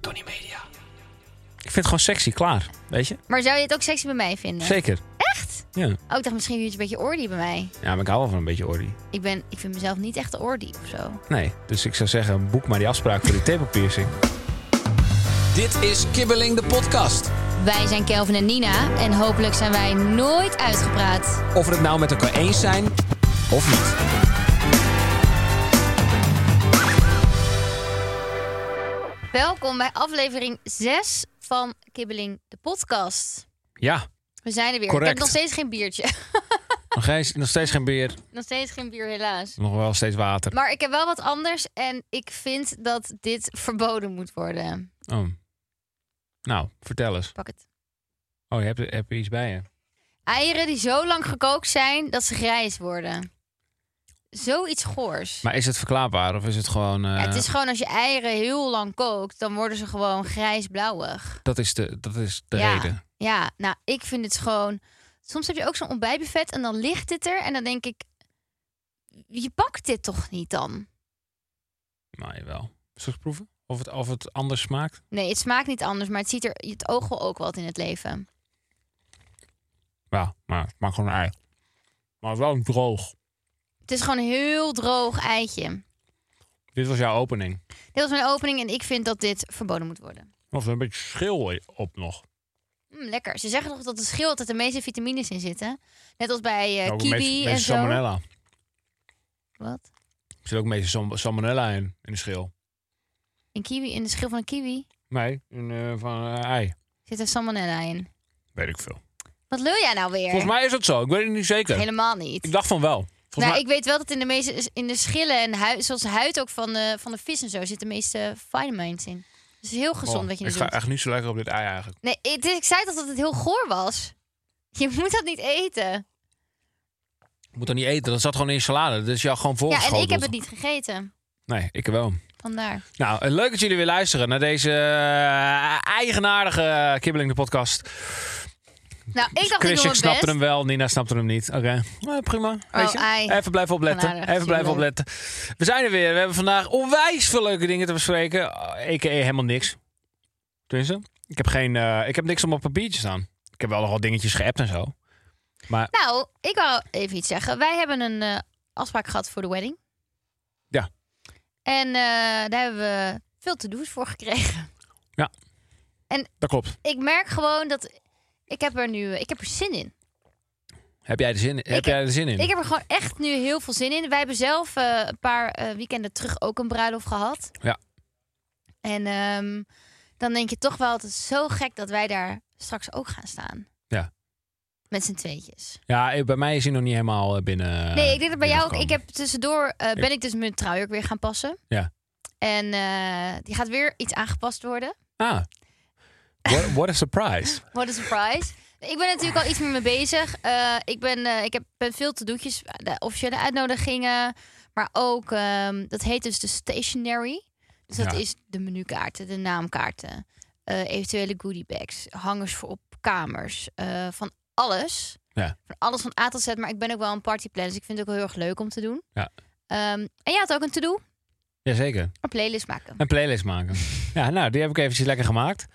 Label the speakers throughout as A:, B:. A: Tony Media. Ik vind het gewoon sexy, klaar. Weet je?
B: Maar zou je het ook sexy bij mij vinden?
A: Zeker.
B: Echt?
A: Ja.
B: Oh, ik dacht misschien vind je het een beetje ordy bij mij.
A: ja, maar ik hou wel van een beetje ordy.
B: Ik, ben, ik vind mezelf niet echt ordy of zo.
A: Nee, dus ik zou zeggen, boek maar die afspraak voor die tepelpiercing.
C: Dit is Kibbeling de podcast.
B: Wij zijn Kelvin en Nina en hopelijk zijn wij nooit uitgepraat.
C: Of we het nou met elkaar eens zijn of niet.
B: Welkom bij aflevering 6 van Kibbeling, de podcast.
A: Ja,
B: We zijn er weer. Ik
A: Correct.
B: heb nog steeds geen biertje.
A: nog, eens, nog steeds geen beer,
B: nog steeds geen bier, helaas.
A: nog wel steeds water.
B: Maar ik heb wel wat anders en ik vind dat dit verboden moet worden.
A: Oh. Nou, vertel eens.
B: Pak het.
A: Oh, je hebt, heb je iets bij je?
B: Eieren die zo lang gekookt zijn dat ze grijs worden. Zoiets goors.
A: Maar is het verklaarbaar of is het gewoon... eh,
B: Ja, het is gewoon als je eieren heel lang kookt, dan worden ze gewoon grijs-blauwig.
A: Dat is de, dat is de
B: ja.
A: reden.
B: Ja, nou, ik vind het gewoon. Soms heb je ook zo'n ontbijtbuffet en dan ligt dit er en dan denk ik, je pakt dit toch niet dan?
A: Maar Nou, jawel. Zullen we proeven? Of het, of het anders smaakt?
B: Nee, het smaakt niet anders, maar het ziet er het oog wil ook wat in het leven.
A: Ja, maar het maakt gewoon een ei. Maar wel droog.
B: Het is gewoon een heel droog eitje.
A: Dit was jouw opening.
B: Dit was mijn opening en ik vind dat dit verboden moet worden.
A: Of er een beetje schil op nog.
B: Mm, lekker. Ze zeggen nog dat het schil altijd de meeste vitamines in zitten. Net als bij
A: Ook
B: eh
A: een
B: kiwi
A: beetje- beetje
B: en zo.
A: salmonella.
B: Wat?
A: Er zit ook een beetje sam- salmonella in, in de schil.
B: In kiwi, in de schil van een kiwi
A: Nee, in, eh, van eh, ei.
B: zit er salmonella in.
A: Weet ik veel.
B: Wat wil jij nou weer?
A: Volgens mij is dat zo. Ik weet het niet zeker.
B: Helemaal niet.
A: Ik dacht van wel. Volgens
B: nou,
A: mij...
B: ik weet wel dat in de meeste in de schillen en huid, zoals de huid ook van de, van de vis en zo, zitten de meeste vitamins in. Dus het is heel gezond
A: Oh,
B: wat je nu
A: Ik
B: doet.
A: ga echt niet zo lekker op dit ei eigenlijk.
B: Nee, het is- ik zei toch dat het heel goor was. Je moet dat niet eten.
A: Je moet dat niet eten. Dat zat gewoon in je salade. Dat is jou gewoon
B: Ja,
A: volgeschoteld.
B: en ik heb het niet gegeten.
A: Nee, ik wel.
B: Vandaar.
A: Nou, eh, leuk dat jullie weer luisteren naar deze eh, eigenaardige Kibbeling de podcast.
B: Nou, ik dacht
A: Chris,
B: ik doe
A: ik
B: mijn best. Oh,
A: snapte hem wel. Nina snapte hem niet. Oké, Nou, prima. Weet je?
B: ei.
A: Even blijven opletten.
B: Eigenaardig,
A: Even blijven
B: tuurlijk.
A: opletten. We zijn er weer. We hebben vandaag onwijs veel leuke dingen te bespreken. Eh, A.k.a. helemaal niks. Tenminste, ik heb, geen, eh, ik heb niks om op papiertje staan. Ik heb wel nogal dingetjes geappt en zo. Maar
B: Nou, ik wou even iets zeggen. Wij hebben een eh, afspraak gehad voor de wedding.
A: Ja.
B: En eh, daar hebben we veel te do's voor gekregen.
A: dat klopt.
B: Ik merk gewoon dat ik heb er nu ik heb er zin in.
A: Heb jij er zin, heb
B: heb-
A: jij er zin in?
B: Ik heb er gewoon echt nu heel veel zin in. Wij hebben zelf eh, een paar eh, weekenden terug ook een bruiloft gehad.
A: Ja.
B: En ehm, dan denk je toch wel, het is zo gek dat wij daar straks ook gaan staan.
A: Ja.
B: Met z'n tweetjes.
A: Ja, eh, bij mij is hij nog niet helemaal eh, binnen.
B: nee, ik denk dat bij jou ook. Ik
A: binnengekomen.
B: heb tussendoor, eh, ben ik dus mijn trouwjurk weer gaan passen.
A: Ja.
B: En eh, die gaat weer iets aangepast worden.
A: Ah. What, what a surprise.
B: What a surprise. Ik ben natuurlijk al iets meer mee bezig. Eh, ik ben, eh, ik heb, ben veel te doetjes, de officiële uitnodigingen. Maar ook, ehm, dat heet dus de stationery. Dus dat
A: Ja.
B: is de menukaarten, de naamkaarten. eh, eventuele goodiebags, hangers voor op kamers. eh, van alles.
A: Ja.
B: Van alles van A tot Z. Maar ik ben ook wel een partyplanner, dus ik vind het ook heel erg leuk om te doen.
A: Ja.
B: Ehm, en jij had ook een to-do,
A: Jazeker.
B: een playlist maken.
A: Een playlist maken. Ja, nou, die heb ik eventjes lekker gemaakt.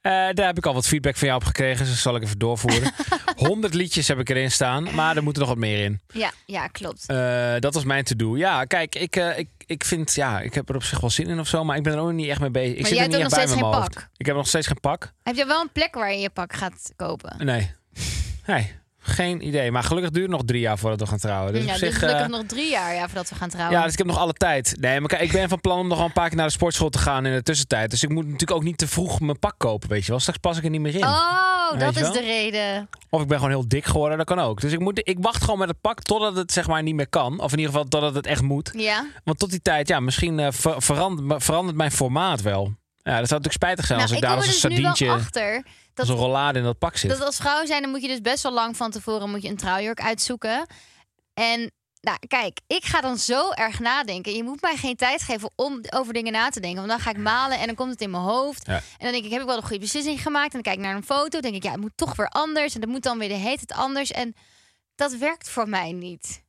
A: Eh, daar heb ik al wat feedback van jou op gekregen, dus dat zal ik even doorvoeren. 100 liedjes heb ik erin staan, maar er moeten nog wat meer in.
B: Ja, ja klopt.
A: Eh, dat was mijn to-do. Ja, kijk, ik, eh, ik, ik vind, ja, ik heb er op zich wel zin in of zo, maar ik ben er ook niet echt mee bezig. Ik
B: Maar
A: zit
B: jij
A: er
B: hebt
A: niet
B: ook
A: echt bij
B: nog steeds
A: met
B: geen
A: mijn hoofd. Ik heb nog steeds geen pak.
B: Heb je wel een plek waar je je pak gaat kopen?
A: Nee. Nee. Geen idee. Maar gelukkig duurt het nog drie jaar voordat we gaan trouwen. Dus
B: ja,
A: op
B: dit is
A: zich...
B: gelukkig
A: eh,
B: nog drie jaar ja, voordat we gaan trouwen.
A: ja, dus ik heb nog alle tijd. Nee, maar kijk, ik ben van plan om nog wel een paar keer naar de sportschool te gaan in de tussentijd. Dus ik moet natuurlijk ook niet te vroeg mijn pak kopen, weet je wel. Straks pas ik er niet meer in.
B: Oh,
A: Weet
B: dat
A: je
B: is
A: wel?
B: de reden.
A: Of ik ben gewoon heel dik geworden, dat kan ook. Dus ik, moet, ik wacht gewoon met het pak totdat het zeg maar niet meer kan. Of in ieder geval totdat het echt moet.
B: Ja.
A: Want tot die tijd, ja, misschien eh, ver- verandert, me- verandert mijn formaat wel. Ja, dat zou natuurlijk spijtig zijn
B: Nou,
A: als
B: ik
A: ik daar
B: kom er
A: als een
B: dus nu
A: sardientje,
B: wel achter
A: als
B: dat,
A: een rollade in dat pak zit.
B: dat als vrouw zijn, dan moet je dus best wel lang van tevoren moet je een trouwjurk uitzoeken. En nou, kijk, ik ga dan zo erg nadenken. Je moet mij geen tijd geven om over dingen na te denken. Want dan ga ik malen en dan komt het in mijn hoofd.
A: Ja.
B: En dan denk ik, heb ik wel een goede beslissing gemaakt? En dan kijk ik naar een foto. Dan denk ik, ja, het moet toch weer anders. En dat moet dan weer de heet het anders. En dat werkt voor mij niet.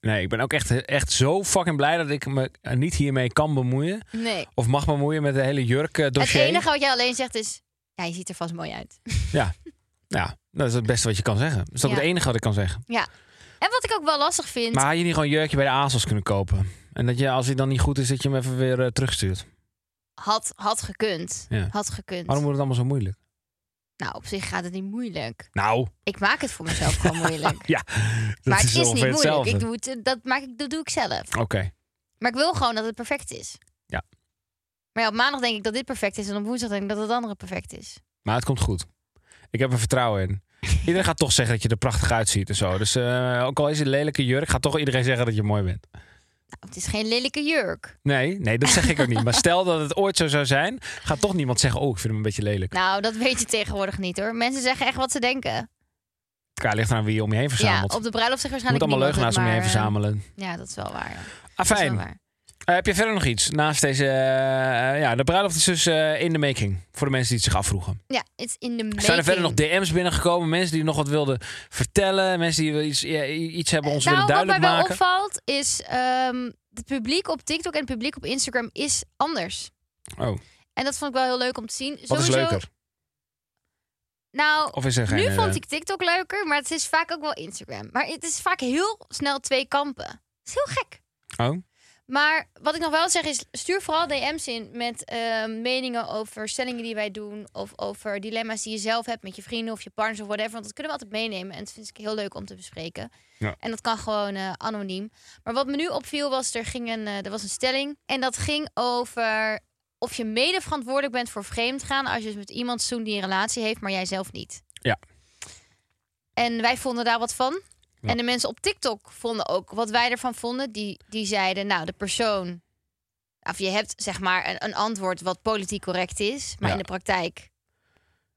A: Nee, ik ben ook echt, echt zo fucking blij dat ik me eh, niet hiermee kan bemoeien.
B: Nee.
A: Of mag bemoeien met de hele jurk eh, dossier.
B: Het enige wat jij alleen zegt is, ja, je ziet er vast mooi uit.
A: Ja, dat is het beste wat je kan zeggen. Dat is ook
B: Ja.
A: het enige wat ik kan zeggen.
B: En wat ik ook wel lastig vind.
A: Maar had je niet gewoon een jurkje bij de ASOS kunnen kopen? En dat je, als hij dan niet goed is, dat je hem even weer eh, terugstuurt.
B: Had, had gekund.
A: Ja.
B: Had gekund.
A: Waarom wordt het allemaal zo moeilijk?
B: Nou, op zich gaat het niet moeilijk.
A: Nou,
B: Ik maak het voor mezelf gewoon moeilijk.
A: ja. Dat
B: maar het is niet
A: ongeveer
B: moeilijk.
A: hetzelfde.
B: Ik doe het, eh, dat, maak ik, dat doe ik zelf.
A: Oké.
B: Maar ik wil gewoon dat het perfect is.
A: Ja.
B: Maar ja, op maandag denk ik dat dit perfect is. En op woensdag denk ik dat het andere perfect is.
A: Maar het komt goed. Ik heb er vertrouwen in. Iedereen gaat toch zeggen dat je er prachtig uitziet en zo. Dus eh, ook al is het een lelijke jurk, gaat toch iedereen zeggen dat je mooi bent.
B: Nou, het is geen lelijke jurk.
A: Nee, nee, dat zeg ik ook niet. Maar stel dat het ooit zo zou zijn, gaat toch niemand zeggen: Oh, ik vind hem een beetje lelijk.
B: Nou, dat weet je tegenwoordig niet hoor. Mensen zeggen echt wat ze denken.
A: Elkaar ligt aan wie je om je heen verzamelt.
B: Ja, op de bruiloft zegt
A: je moet
B: waarschijnlijk
A: allemaal leugenaars
B: niemand
A: om je heen
B: het, maar,
A: verzamelen. Ah,
B: eh, Ja, dat is wel waar. ja. Dat is wel
A: Afijn,
B: waar.
A: Eh, heb je verder nog iets naast deze? eh, eh, ja, de bruiloft is dus eh, in de making. Voor de mensen die het zich afvroegen.
B: Ja, it's in de making.
A: Zijn er verder nog DM's binnengekomen? Mensen die nog wat wilden vertellen? Mensen die wel iets, ja, i- iets hebben ons
B: nou,
A: willen duidelijk
B: wat mij wel
A: maken?
B: opvalt is... ehm, het publiek op TikTok en het publiek op Instagram is anders.
A: Oh,
B: En dat vond ik wel heel leuk om te zien.
A: wat is
B: Sowieso-
A: leuker?
B: Nou,
A: Of is er geen...
B: nu
A: eh,
B: vond ik TikTok leuker, maar het is vaak ook wel Instagram. Maar het is vaak heel snel twee kampen. Het is heel gek.
A: Oh.
B: Maar wat ik nog wel zeg is, stuur vooral DM's in met eh, meningen over stellingen die wij doen. Of over dilemma's die je zelf hebt met je vrienden of je partners of whatever. Want dat kunnen we altijd meenemen. En dat vind ik heel leuk om te bespreken.
A: Ja.
B: En dat kan gewoon eh, anoniem. Maar wat me nu opviel was, er, ging een, eh, er was een stelling. En dat ging over of je mede verantwoordelijk bent voor vreemdgaan... als je dus met iemand zoent die een relatie heeft, maar jij zelf niet.
A: Ja.
B: En wij vonden daar wat van.
A: Ja.
B: En de mensen op TikTok vonden ook wat wij ervan vonden. Die, die zeiden, nou, de persoon... Of je hebt zeg maar een, een antwoord wat politiek correct is, maar
A: Ja.
B: in de praktijk...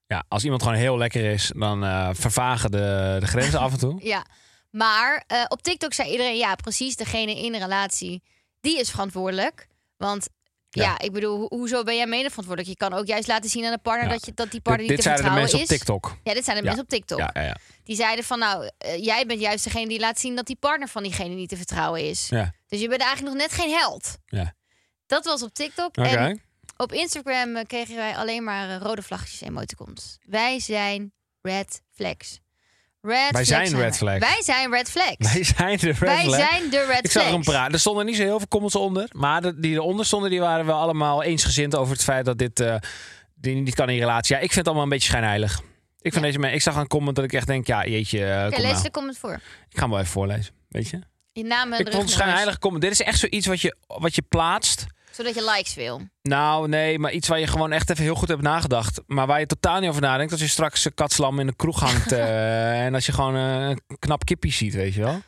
A: Ja, als iemand gewoon heel lekker is, dan eh, vervagen de, de grenzen af en toe.
B: Ja, maar eh, op TikTok zei iedereen, ja, precies, degene in een relatie, die is verantwoordelijk. Want ja,
A: Ja.
B: ik bedoel, ho- hoezo ben jij mede verantwoordelijk? Je kan ook juist laten zien aan de partner
A: Ja.
B: dat, je, dat die
A: Dit,
B: partner
A: dit
B: niet te
A: zeiden de
B: vertrouwen
A: mensen
B: is.
A: op TikTok.
B: Ja, dit zijn de
A: Ja.
B: mensen op TikTok.
A: Ja, ja, ja.
B: Die zeiden van, nou, eh, jij bent juist degene die laat zien dat die partner van diegene niet te vertrouwen is.
A: ja.
B: Dus je bent eigenlijk nog net geen held.
A: Ja.
B: Dat was op TikTok.
A: Oké.
B: En op Instagram eh, kregen wij alleen maar eh, rode vlaggetjes emoticons. Wij zijn red flags. Red flags
A: zijn red
B: we.
A: flags.
B: Wij zijn red flags.
A: Wij zijn de red
B: Wij
A: flag.
B: zijn de red
A: Ik zag
B: flags.
A: er een praat. Er stonden niet zo heel veel comments onder. Maar de- die eronder stonden, die waren wel allemaal eensgezind over het feit dat dit eh die niet kan in relatie. Ja, ik vind het allemaal een beetje schijnheilig. Ik, vind deze, men- ik zag een comment dat ik echt denk, ja, jeetje, eh,
B: Oké,
A: kom
B: lees
A: nou.
B: de comment voor.
A: Ik ga hem wel even voorlezen, weet je?
B: Je naam en
A: Ik vond het
B: rugnummers.
A: schijnheilig comment. Dit is echt zoiets wat je, wat je plaatst.
B: Zodat je likes wil.
A: Nou, nee, maar iets waar je gewoon echt even heel goed hebt nagedacht. Maar waar je totaal niet over nadenkt. Als je straks een katslam in de kroeg hangt. eh, en als je gewoon eh, een knap kippie ziet, weet je wel.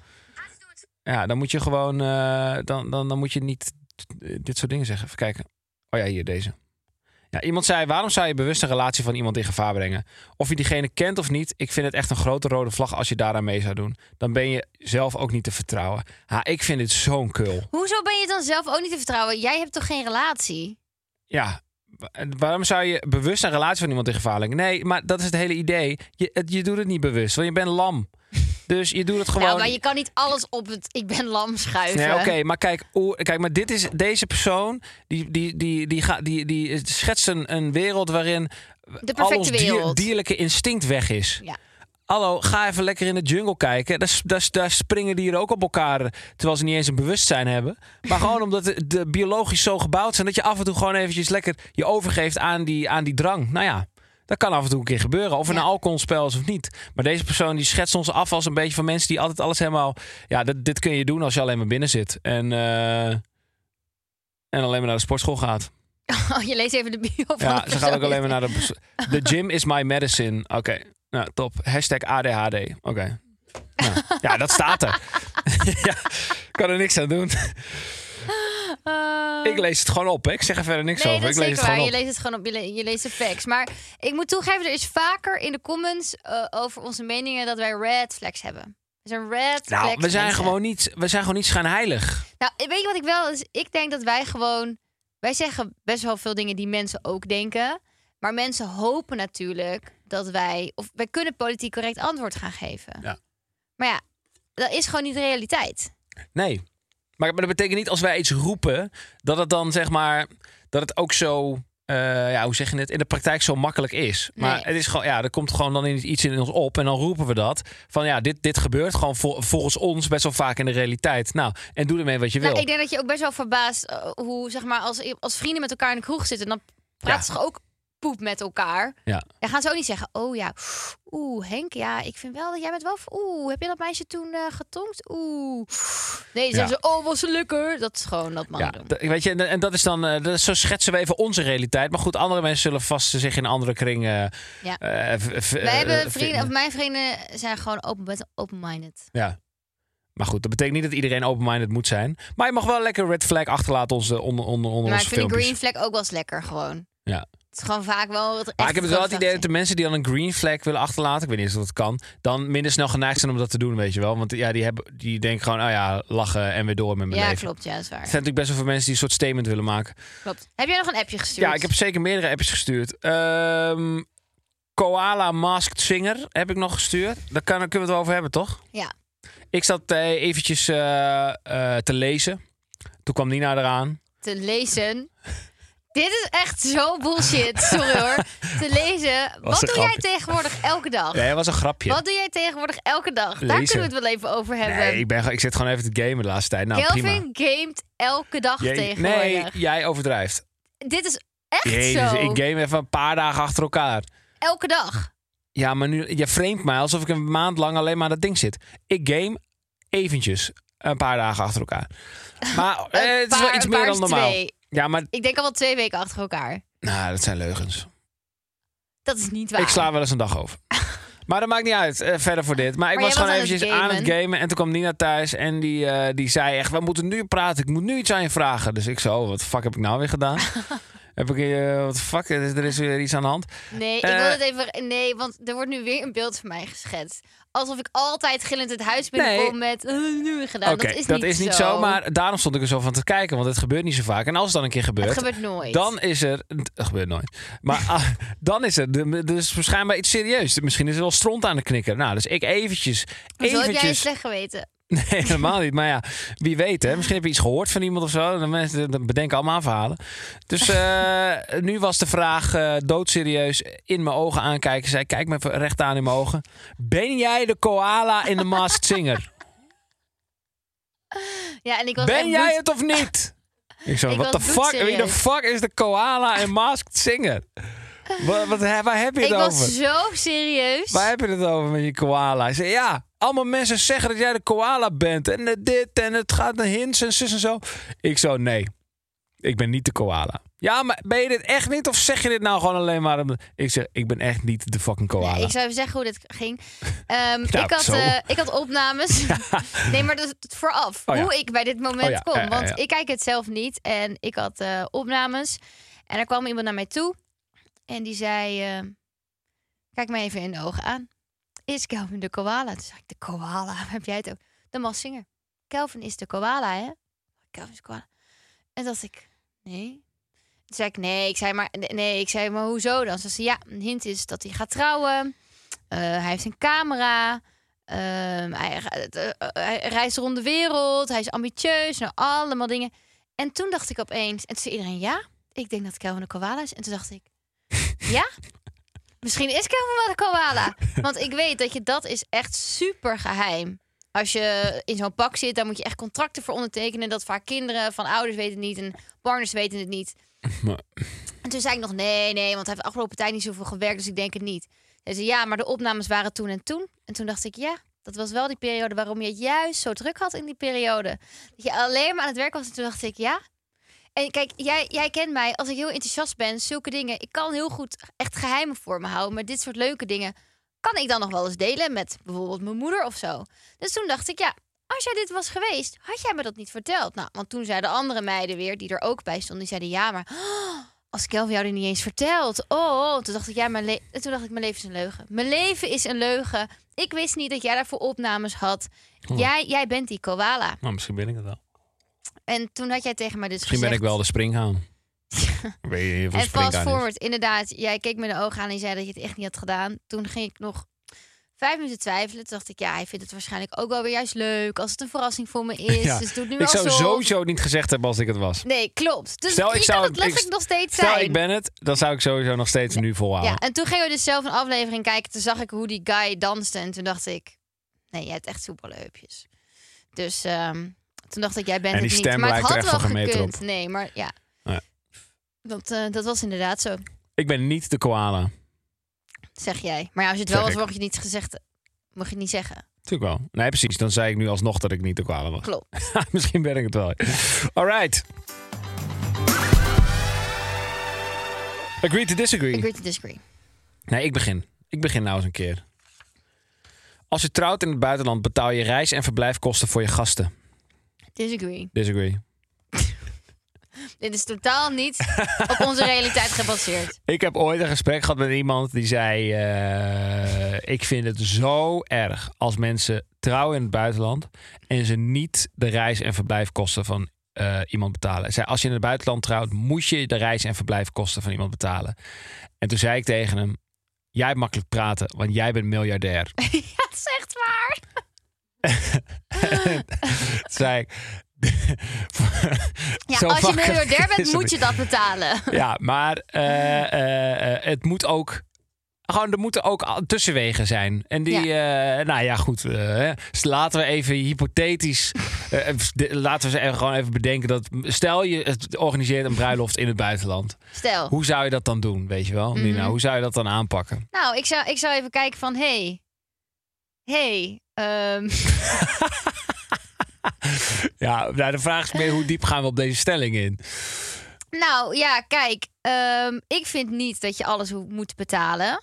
A: Ja, dan moet je gewoon. eh, dan, dan, dan moet je niet eh, dit soort dingen zeggen. Even kijken. Oh ja, hier deze. Ja, iemand zei: waarom zou je bewust een relatie van iemand in gevaar brengen? Of je diegene kent of niet, ik vind het echt een grote rode vlag als je daaraan mee zou doen. Dan ben je zelf ook niet te vertrouwen. Ha, ik vind dit zo'n kul.
B: Hoezo ben je dan zelf ook niet te vertrouwen? Jij hebt toch geen relatie?
A: Ja, wa- waarom zou je bewust een relatie van iemand in gevaar brengen? Nee, maar dat is het hele idee. Je, het- je doet het niet bewust, want je bent lam. Dus je doet het gewoon.
B: Nou, maar je kan niet alles op het ik ben lam schuiven.
A: Nee, oké, maar kijk, oe- kijk, maar dit is deze persoon die, die, die, die, gaat die, die schetst een, een wereld waarin
B: De
A: al
B: perfecte
A: ons dier-
B: wereld.
A: dierlijke instinct weg is.
B: Ja.
A: Hallo, ga even lekker in de jungle kijken. Daar, s- daar, s- daar springen dieren ook op elkaar, eh, terwijl ze niet eens een bewustzijn hebben. Maar gewoon omdat de, de biologisch zo gebouwd zijn dat je af en toe gewoon eventjes lekker je overgeeft aan die, aan die drang. Nou ja, Dat kan af en toe een keer gebeuren. Of er
B: Ja.
A: een alcoholspel is of niet. Maar deze persoon die schetst ons af als een beetje van mensen die altijd alles helemaal. Ja, dit, dit kun je doen als je alleen maar binnen zit. En, eh, en alleen maar naar de sportschool gaat.
B: Oh, je leest even de bio van
A: Ja,
B: de
A: ze gaat ook
B: persoon.
A: alleen maar naar de. pers- The gym is my medicine. Oké, nou top. Hashtag ADHD. Oké. Nou, ja, dat staat er. ja, kan er niks aan doen.
B: Ah.
A: Ik lees het gewoon op. Hè. Ik zeg er verder niks
B: Nee,
A: over.
B: dat is
A: Ik lees
B: zeker
A: het
B: waar.
A: gewoon
B: Je
A: op.
B: leest het gewoon op. Je, le- je leest de facts. Maar ik moet toegeven, er is vaker in de comments eh, over onze meningen dat wij red flags hebben. We zijn red
A: Nou,
B: flags
A: we zijn
B: mensen.
A: gewoon niet, we zijn gewoon niet schijnheilig.
B: Nou, weet je wat ik wel... Is, ik denk dat wij gewoon... Wij zeggen best wel veel dingen die mensen ook denken. Maar mensen hopen natuurlijk dat wij... Of wij kunnen politiek correct antwoord gaan geven.
A: Ja.
B: Maar ja, dat is gewoon niet de realiteit.
A: Nee. Maar, maar dat betekent niet als wij iets roepen, dat het dan zeg maar, dat het ook zo, eh, ja, hoe zeg je het, in de praktijk zo makkelijk is. Maar
B: Nee.
A: het is gewoon, ja, er komt gewoon dan iets in ons op en dan roepen we dat. Van ja, dit, dit gebeurt gewoon vol- volgens ons best wel vaak in de realiteit. Nou, en doe ermee wat je
B: Nou,
A: wil.
B: ik denk dat je ook best wel verbaast eh, hoe, zeg maar, als, als vrienden met elkaar in de kroeg zitten, dan praten ze ook poep met elkaar.
A: Ja.
B: Dan gaan ze ook niet zeggen, oh ja, oeh, Henk, ja, ik vind wel dat jij bent wel... Oeh, heb je dat meisje toen eh getongd? Oeh. Nee, ze
A: Ja.
B: zeggen ze, oh, was lekker. Dat is gewoon dat mannen
A: Ja,
B: doen.
A: d- weet je, en, en dat is dan, eh, dat is- zo schetsen we even onze realiteit. Maar goed, andere mensen zullen vast zich in een andere kring. eh
B: Ja.
A: eh, v- v-
B: Wij
A: eh,
B: hebben
A: v-
B: vrienden, of mijn vrienden zijn gewoon open- open-minded.
A: Ja. Maar goed, dat betekent niet dat iedereen open-minded moet zijn. Maar je mag wel lekker red flag achterlaten onze, onder, onder, onder
B: maar ik
A: onze
B: vind de
A: filmpjes.
B: green flag ook wel eens lekker gewoon.
A: Ja.
B: Het is gewoon vaak wel... Het
A: maar
B: echt
A: ik heb het wel het
B: grote
A: idee dat
B: actie.
A: de mensen die dan een green flag willen achterlaten, ik weet niet eens of dat kan, dan minder snel geneigd zijn om dat te doen, weet je wel. Want ja, die, hebben, die denken gewoon, oh ja, lachen en weer door met mijn
B: Ja,
A: leven.
B: klopt. Ja, dat is waar.
A: Er zijn natuurlijk best wel veel mensen die een soort statement willen maken.
B: Klopt. Heb jij nog een appje gestuurd?
A: Ja, ik heb zeker meerdere appjes gestuurd. Ehm, Koala Masked Singer heb ik nog gestuurd. Daar, kan, daar kunnen we het wel over hebben, toch?
B: Ja.
A: Ik zat eh, eventjes eh, eh, te lezen. Toen kwam Nina eraan.
B: te lezen. Dit is echt zo bullshit. Sorry hoor. Te lezen.
A: Was
B: Wat
A: een
B: doe jij
A: grapje.
B: tegenwoordig elke dag?
A: Nee, dat was een grapje.
B: Wat doe jij tegenwoordig elke dag? Daar
A: Lezen.
B: kunnen we het wel even over hebben.
A: Nee, ik, ben, ge- ik zit gewoon even te gamen de laatste tijd. Nou, prima.
B: Kelvin gamet elke dag
A: Jij-
B: tegenwoordig.
A: nee, jij overdrijft.
B: Dit is echt
A: Jezus,
B: zo.
A: ik game even een paar dagen achter elkaar.
B: Elke dag.
A: Ja, maar nu, je framet mij alsof ik een maand lang alleen maar aan dat ding zit. Ik game eventjes een paar dagen achter elkaar. Maar eh,
B: Een
A: het is wel
B: paar-
A: iets
B: een
A: meer
B: paar
A: dan
B: is
A: normaal.
B: twee.
A: Ja, maar
B: Ik denk al wel twee weken achter elkaar.
A: nou, dat zijn leugens.
B: Dat is niet waar.
A: Ik sla wel eens een dag over. maar dat maakt niet uit, eh, verder voor dit. Maar ik
B: Maar
A: was
B: jij
A: gewoon
B: was aan het
A: eventjes aan het
B: gamen.
A: gamen. En toen kwam Nina thuis en die, eh, die zei echt... we moeten nu praten, ik moet nu iets aan je vragen. Dus ik zo, oh, wat de fuck heb ik nou weer gedaan? heb ik, eh, wat de fuck, er is, er is weer iets aan de hand.
B: Nee, ik
A: Eh.
B: wil het even. Nee, want er wordt nu weer een beeld van mij geschetst. Alsof ik altijd gillend het huis binnenkom
A: Nee.
B: met. eh, nu gedaan.
A: Oké,
B: dat is niet
A: zo. Maar daarom stond ik er zo van te kijken, want het gebeurt niet zo vaak. En als het dan een keer
B: Het
A: gebeurt...
B: gebeurt nooit.
A: dan is er. Dat gebeurt nooit. Maar ah, dan is er. de- Dus waarschijnlijk iets serieus. Misschien is er wel stront aan de knikker. Nou, dus ik eventjes.
B: Zo heb jij het
A: eventjes
B: slecht geweten.
A: Nee, helemaal niet. Maar ja, wie weet, hè? Misschien heb je iets gehoord van iemand of zo. Dan, mensen, dan bedenken allemaal verhalen. Dus eh, nu was de vraag eh, doodserieus in mijn ogen aankijken. Zij kijk me even recht aan in mijn ogen. Ben jij de koala in de Masked Singer?
B: Ja, en ik was
A: ben
B: echt
A: jij
B: bloed-
A: het of niet? Ik zo,
B: Ik
A: wat de
B: was
A: fuck? Wie de
B: bloedserieus.
A: fuck is de koala in Masked Singer? Wat, wat, waar heb je het
B: Ik
A: over?
B: was zo serieus.
A: Waar heb je het over met je koala? Hij zei, ja, allemaal mensen zeggen dat jij de koala bent. En eh, dit en het gaat naar hints en zus en zo. Ik zo, nee, ik ben niet de koala. Ja, maar ben je dit echt niet? Of zeg je dit nou gewoon alleen maar... om- Ik zeg, ik ben echt niet de fucking koala.
B: Nee, ik zou even zeggen hoe dit ging. Ehm,
A: Nou,
B: ik, had,
A: zo.
B: eh, ik had opnames. Nee, maar dat is vooraf.
A: Oh ja.
B: Hoe ik bij dit moment
A: Oh ja,
B: kom.
A: ja, ja,
B: Want
A: ja.
B: ik kijk het zelf niet. En ik had eh, opnames. En er kwam iemand naar mij toe. En die zei... eh, kijk mij even in de ogen aan. Is Kelvin de koala? Toen zei ik, de koala? Waar heb jij het ook? De Massinger. Kelvin is de koala, hè? Kelvin is de koala. En dat ik, nee. Toen zei ik, nee. Ik zei, maar, nee, ik zei, maar hoezo dan? Ze zei, ja, een hint is dat hij gaat trouwen. Eh, hij heeft een camera. Ehm, hij, gaat- eh, eh, hij reist rond de wereld. Hij is ambitieus. Nou, allemaal dingen. En toen dacht ik opeens... En toen zei iedereen, ja, ik denk dat Kelvin een koala is. En toen dacht ik, ja? Misschien is Kelvin wel een koala. Want ik weet dat je dat is echt super geheim. Als je in zo'n pak zit, dan moet je echt contracten voor ondertekenen. Dat vaak kinderen van ouders weten het niet en partners weten het niet.
A: Maar-
B: En toen toen zei ik nog, nee, nee, want hij heeft de afgelopen tijd niet zoveel gewerkt, dus ik denk het niet. Hij zei, ja, maar de opnames waren toen en toen. En toen dacht ik, ja, dat was wel die periode waarom je het juist zo druk had in die periode. Dat je alleen maar aan het werk was. En toen dacht ik, ja. En kijk, jij, jij kent mij, als ik heel enthousiast ben, zulke dingen, ik kan heel goed echt geheimen voor me houden. Maar dit soort leuke dingen kan ik dan nog wel eens delen met bijvoorbeeld mijn moeder of zo. Dus toen dacht ik, ja, als jij dit was geweest, had jij me dat niet verteld? Nou, want toen zeiden andere meiden weer, die er ook bij stonden, die zeiden ja, maar oh, als Kelvin jou dit niet eens vertelt. Oh, toen dacht ik, ja, mijn, le- en toen dacht ik, mijn leven is een leugen. Mijn leven is een leugen. Ik wist niet dat jij daarvoor opnames had.
A: Hm.
B: Jij, jij bent die koala.
A: Nou, misschien ben ik het wel.
B: En toen had jij tegen mij dus
A: Misschien ben ik
B: gezegd-
A: wel de springhaan. Weet je heel veel
B: En fast
A: springhaan is?
B: forward, inderdaad. Jij keek me in de ogen aan en zei dat je het echt niet had gedaan. Toen ging ik nog vijf minuten twijfelen. Toen dacht ik, ja, hij vindt het waarschijnlijk ook wel weer juist leuk. Als het een verrassing voor me is.
A: Ja.
B: Dus doe het nu
A: Ik zou
B: alsof.
A: sowieso niet gezegd hebben als ik het was.
B: Nee, klopt. Dus
A: Stel, ik
B: je
A: zou-
B: kan het letterlijk
A: ik-
B: nog steeds
A: Stel,
B: zijn.
A: ik ben het, dan zou ik sowieso nog steeds nu volhouden.
B: Ja, en toen gingen we dus zelf een aflevering kijken. Toen zag ik hoe die guy danste. En toen dacht ik, nee, jij hebt echt soepelheupjes. Dus ehm, toen dacht ik, jij bent
A: En die
B: het
A: stem
B: niet. Maar
A: lijkt er
B: het had
A: echt
B: wel
A: van gemeten
B: gekund.
A: op.
B: Nee, maar ja.
A: Ja.
B: Dat, eh, dat was inderdaad zo,
A: Ik ben niet de koala.
B: zeg jij. Maar ja, als je het
A: Zeg
B: wel was,
A: ik.
B: mocht je niet gezegd... Mocht je het niet zeggen.
A: Natuurlijk wel. Nee, precies. Dan zei ik nu alsnog dat ik niet de koala was.
B: Klopt.
A: Misschien ben ik het wel. All right. Agree to disagree.
B: Agree to disagree.
A: Nee, ik begin. Ik begin nou eens een keer. Als je trouwt in het buitenland, betaal je reis- en verblijfkosten voor je gasten.
B: Disagree.
A: Disagree.
B: Dit is totaal niet op onze realiteit gebaseerd.
A: Ik heb ooit een gesprek gehad met iemand die zei: eh, Ik vind het zo erg als mensen trouwen in het buitenland en ze niet de reis- en verblijfkosten van eh, iemand betalen. Zij, als je in het buitenland trouwt, moet je de reis- en verblijfkosten van iemand betalen. En toen zei ik tegen hem: Jij hebt makkelijk praten, want jij bent miljardair.
B: Dat is echt waar.
A: Toen zei ik.
B: Ja,
A: Zo
B: als je
A: makkelijk
B: miljardair
A: is
B: bent,
A: het
B: moet je dat betalen.
A: Ja, maar eh, eh, eh, het moet ook. Gewoon, er moeten ook al- tussenwegen zijn. En die, eh, nou ja, goed. eh, hè. dus laten we even hypothetisch. eh, eh, de- laten we ze even- gewoon even bedenken dat. Stel je het organiseert een bruiloft in het buitenland.
B: Stel.
A: Hoe zou je dat dan doen, weet je wel?
B: Mhm.
A: Nina, hoe zou je dat dan aanpakken?
B: Nou, ik zou, ik zou even kijken van, hey, hey, ehm,
A: Ja, nou, de vraag is meer hoe diep gaan we op deze stelling in?
B: nou ja, kijk, ehm, ik vind niet dat je alles hoe- moet betalen.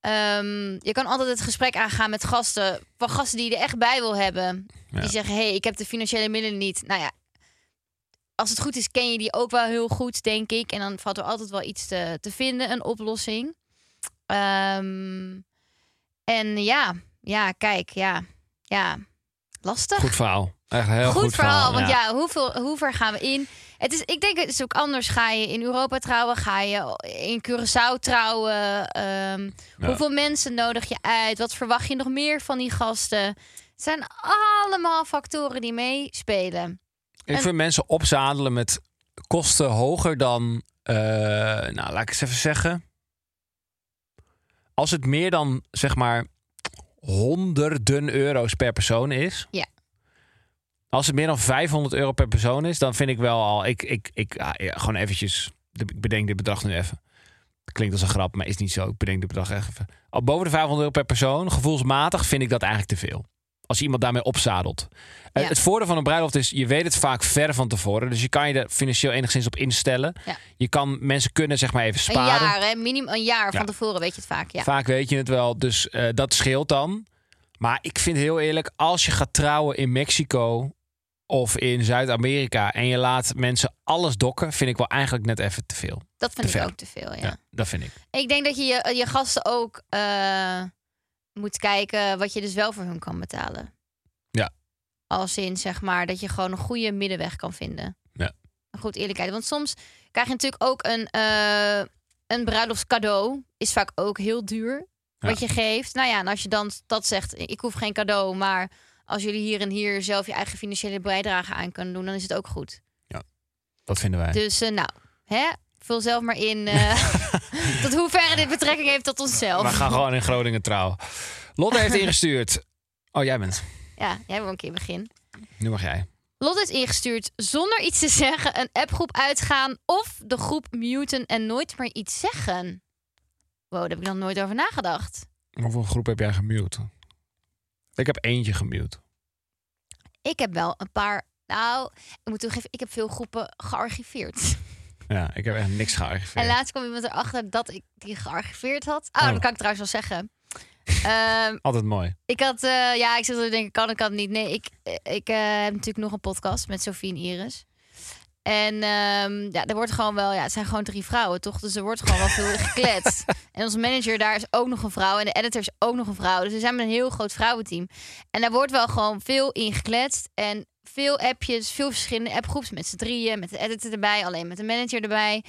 B: Ehm, je kan altijd het gesprek aangaan met gasten, van gasten die je er echt bij wil hebben.
A: Ja.
B: Die zeggen, hey, ik heb de financiële middelen niet. Nou ja, als het goed is, ken je die ook wel heel goed, denk ik. En dan valt er altijd wel iets te, te vinden, een oplossing. Ehm, en ja, ja, kijk, ja, ja, lastig.
A: Goed verhaal. Echt een heel goed,
B: goed, verhaal, want
A: ja.
B: ja, hoeveel, hoe ver gaan we in? Het is, ik denk, het is ook anders. Ga je in Europa trouwen? Ga je in Curaçao trouwen? Ehm,
A: Ja.
B: Hoeveel mensen nodig je uit? Wat verwacht je nog meer van die gasten? Het zijn allemaal factoren die meespelen.
A: Ik
B: En-
A: vind mensen opzadelen met kosten hoger dan, eh, nou laat ik eens even zeggen. Als het meer dan zeg maar honderden euro's per persoon is.
B: Ja.
A: Als het meer dan 500 euro per persoon is, dan vind ik wel al. Ik, ik, ik ah, ja, gewoon eventjes. Ik bedenk dit bedrag nu even. Klinkt als een grap, maar is niet zo. Ik bedenk dit bedrag echt even. Al boven de 500 euro per persoon, gevoelsmatig, vind ik dat eigenlijk te veel. Als iemand daarmee opzadelt. Eh,
B: Ja.
A: Het voordeel van een bruiloft is, je weet het vaak ver van tevoren. Dus je kan je er financieel enigszins op instellen.
B: Ja.
A: Je kan, mensen kunnen zeg maar even
B: Een
A: sparen.
B: jaar, hè? minimum een jaar
A: Ja.
B: van tevoren weet je het vaak. Ja.
A: Vaak weet je het wel, dus eh, dat scheelt dan. Maar ik vind heel eerlijk, als je gaat trouwen in Mexico of in Zuid-Amerika en je laat mensen alles dokken, vind ik wel eigenlijk net even te veel.
B: Dat vind
A: te
B: ik
A: ver.
B: ook te veel.
A: Ja.
B: ja.
A: dat vind ik.
B: Ik denk dat je je, je gasten ook eh, moet kijken wat je dus wel voor hun kan betalen.
A: Ja.
B: Als in zeg maar dat je gewoon een goede middenweg kan vinden.
A: Ja.
B: Een goed eerlijkheid. Want soms krijg je natuurlijk ook een, eh een bruiloftscadeau. Is vaak ook heel duur
A: Ja.
B: wat je geeft. Nou ja, en als je dan dat zegt, ik hoef geen cadeau, maar als jullie hier en hier zelf je eigen financiële bijdrage aan kunnen doen, dan is het ook goed.
A: Dat vinden wij.
B: Dus eh, nou, hè? vul zelf maar in eh, tot hoeverre dit betrekking heeft tot onszelf.
A: We gaan gewoon in Groningen trouwen. Lotte heeft ingestuurd. Oh, jij bent.
B: Ja, jij wil een keer begin.
A: Nu mag jij.
B: Lot is ingestuurd zonder iets te zeggen, een appgroep uitgaan of de groep muten en nooit meer iets zeggen. Wow, daar heb ik nog nooit over nagedacht.
A: Hoeveel groep heb jij gemute? Ik heb eentje gemute.
B: Ik heb wel een paar. Nou, ik moet toegeven, ik heb veel groepen gearchiveerd.
A: Ja, ik heb echt niks gearriveerd.
B: En laatst kwam iemand erachter dat ik die gearchiveerd had. Oh,
A: Oh.
B: dat kan ik trouwens wel zeggen. Ehm,
A: Altijd mooi.
B: ik had, eh, ja, ik zit al te denken, kan ik kan niet. Nee, ik, eh, ik eh, heb natuurlijk nog een podcast met Sofie en Iris. En ehm, ja, er wordt gewoon wel, ja, het zijn gewoon drie vrouwen, toch? Dus er wordt gewoon wel veel gekletst. En onze manager daar is ook nog een vrouw en de editor is ook nog een vrouw. Dus we zijn met een heel groot vrouwenteam. En daar wordt wel gewoon veel in gekletst en veel appjes, veel verschillende appgroeps met z'n drieën, met de editor erbij, alleen met de manager erbij.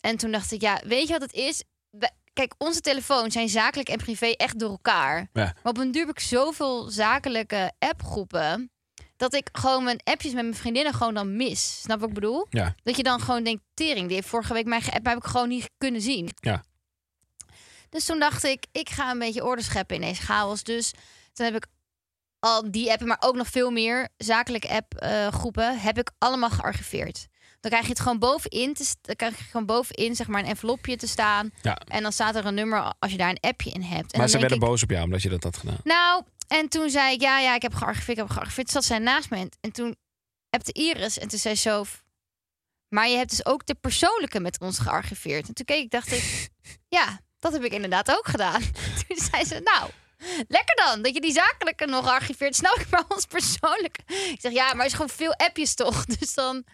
B: En toen dacht ik, ja, weet je wat het is? We- Kijk, onze telefoons zijn zakelijk en privé echt door elkaar.
A: Ja.
B: Maar op een duur heb ik zoveel zakelijke appgroepen... dat ik gewoon mijn appjes met mijn vriendinnen gewoon dan mis. Snap wat ik bedoel?
A: Ja.
B: Dat je dan gewoon denkt, tering, die heeft vorige week mij geappt... maar heb ik gewoon niet kunnen zien.
A: Ja.
B: Dus toen dacht ik, ik ga een beetje orde scheppen in deze chaos. Dus toen heb ik al die appen, maar ook nog veel meer zakelijke appgroepen... groepen heb ik allemaal gearchiveerd. Dan krijg je het gewoon bovenin, te st- dan krijg je gewoon bovenin zeg maar een envelopje te staan.
A: Ja.
B: En dan staat er een nummer als je daar een appje in hebt.
A: Maar
B: En dan
A: ze
B: denk
A: werden
B: ik,
A: boos op jou omdat je dat had gedaan.
B: nou, en toen zei ik, ja, ja, ik heb gearchiveerd, ik heb gearchiveerd. Zat zij naast me en, en toen appte Iris en toen zei ze zo... Maar je hebt dus ook de persoonlijke met ons gearchiveerd. En toen keek ik, dacht ik, ja, dat heb ik inderdaad ook gedaan. Toen zei ze, nou, lekker dan, dat je die zakelijke nog archiveert. Snap ik maar ons persoonlijke. Ik zeg, ja, maar er is gewoon veel appjes toch? Dus dan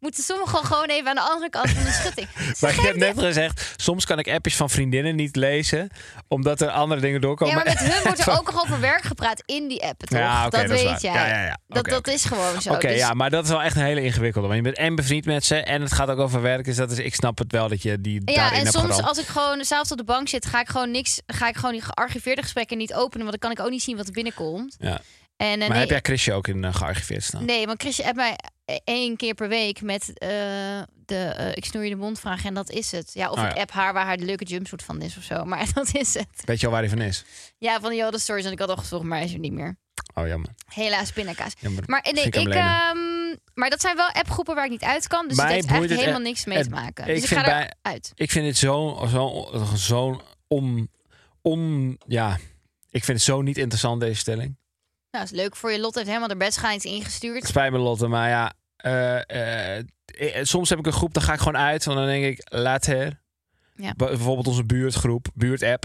B: moeten sommigen gewoon even aan de andere kant van de schutting. Ze
A: Maar ik
B: geeft
A: heb net gezegd, soms kan ik appjes van vriendinnen niet lezen, omdat er andere dingen doorkomen.
B: Ja, maar met hun wordt er ook nog over werk gepraat in die app, toch?
A: Ja, oké,
B: dat,
A: dat is
B: weet jij.
A: waar. Ja, ja, ja.
B: Dat,
A: Oké,
B: dat
A: oké.
B: is gewoon zo.
A: Oké,
B: Dus-
A: ja, maar dat is wel echt een hele ingewikkelde. Want je bent en bevriend met ze en het gaat ook over werk. Dus dat is, ik snap het wel dat je die
B: Ja,
A: daarin
B: en
A: hebt
B: soms
A: geramd.
B: als ik gewoon s'avonds op de bank zit, ga ik gewoon niks, ga ik gewoon die gearchiveerde gesprekken niet openen, want dan kan ik ook niet zien wat er binnenkomt.
A: Ja.
B: En, eh,
A: Maar
B: nee,
A: heb jij Chrisje ook in eh, gearchiveerd staan?
B: nee, want Chrisje appt mij eh, één keer per week met eh, de eh, ik snoer je de mond vraag en dat is het. Ja, of
A: Oh,
B: ik
A: ja.
B: app haar waar haar de leuke jumpsuit van is of zo, maar dat is het.
A: Weet je al waar hij van is?
B: Ja, van de stories en ik had al gezocht, maar hij is er niet meer.
A: Oh, jammer.
B: Helaas pindakaas.
A: jammer.
B: Maar eh, nee,
A: Misschien
B: ik,
A: kan je hem
B: ehm, maar dat zijn wel appgroepen waar ik niet uit kan, dus
A: Mij
B: het heeft
A: boeit het
B: eigenlijk
A: e-
B: helemaal niks mee te
A: het-
B: maken.
A: ik
B: Dus ik,
A: vind
B: ga
A: bij-
B: eruit.
A: Ik vind dit zo'n zo, zo om, om... Ja, ik vind het zo niet interessant, deze stelling.
B: Nou, is leuk voor je. Lot heeft helemaal de best gaan iets ingestuurd.
A: Het spijt me, Lotte, maar ja... eh, eh, eh, soms heb ik een groep, dan ga ik gewoon uit. Want dan denk ik, later.
B: Ja.
A: Bij- Bijvoorbeeld onze buurtgroep, buurtapp.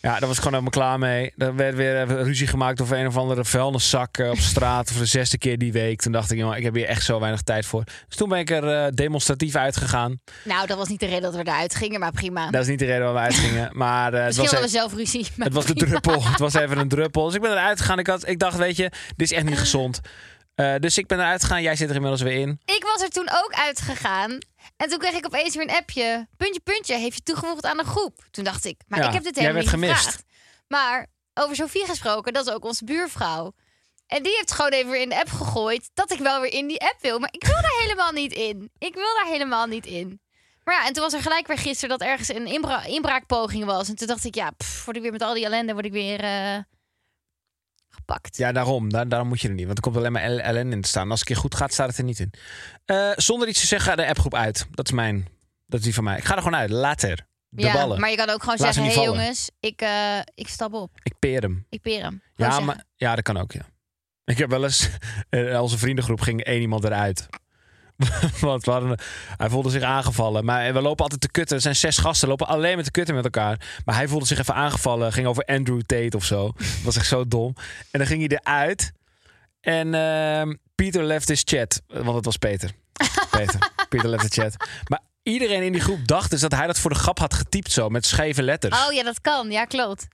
A: Ja, daar was ik gewoon helemaal klaar mee. Er werd weer even ruzie gemaakt over een of andere vuilniszak eh, op straat. voor de zesde keer die week. Toen dacht ik, jongen, ik heb hier echt zo weinig tijd voor. Dus toen ben ik er eh, demonstratief uitgegaan.
B: Nou, dat was niet de reden dat we eruit gingen, maar prima.
A: Dat is niet de reden waarom we uitgingen. Maar eh, het
B: Misschien
A: Nou, was
B: hadden we
A: even,
B: zelf ruzie. maar
A: het was de
B: prima.
A: druppel. Het was even een druppel. Dus ik ben eruit gegaan. Ik, had, ik dacht, weet je, dit is echt niet gezond. Eh, dus ik ben eruit gegaan. Jij zit er inmiddels weer in.
B: Ik was er toen ook uitgegaan. En toen kreeg ik opeens weer een appje. Puntje, puntje, heeft je toegevoegd aan een groep. Toen dacht ik, maar
A: Ja,
B: ik heb dit
A: jij
B: helemaal niet
A: werd gemist.
B: gevraagd. Maar over Sofie gesproken, dat is ook onze buurvrouw. En die heeft gewoon even weer in de app gegooid dat ik wel weer in die app wil. Maar ik wil daar helemaal niet in. Ik wil daar helemaal niet in. Maar ja, en toen was er gelijk weer gisteren dat ergens een inbra- inbraakpoging was. En toen dacht ik, ja, pff, word ik weer met al die ellende, word ik weer eh, gepakt.
A: Ja, daarom. Daar, daarom moet je er niet. Want er komt alleen maar L- LN in te staan. Als het een keer goed gaat, staat het er niet in. Eh, zonder iets te zeggen, ga de appgroep uit. Dat is mijn. Dat is die van mij. Ik ga er gewoon uit. Later. De
B: ja,
A: ballen.
B: maar je kan ook gewoon
A: Laat ze
B: zeggen, hé
A: niet
B: hey,
A: vallen."
B: jongens, ik, eh, ik stap op.
A: Ik peer hem.
B: Ik peer hem. Gewoon
A: Ja,
B: zeggen.
A: maar, ja, dat kan ook, ja. Ik heb wel eens... eh, onze vriendengroep ging één iemand eruit. Want we hadden, hij voelde zich aangevallen. Maar we lopen altijd te kutten. Er zijn zes gasten, lopen alleen met de kutten met elkaar. Maar hij voelde zich even aangevallen. Ging over Andrew Tate of zo. Dat was echt zo dom. En dan ging hij eruit. En ehm Peter left his chat. Want het was Peter. Peter. Peter left the chat. Maar iedereen in die groep dacht dus dat hij dat voor de grap had getypt zo. Met scheve letters.
B: Oh ja, dat kan. Ja, klopt.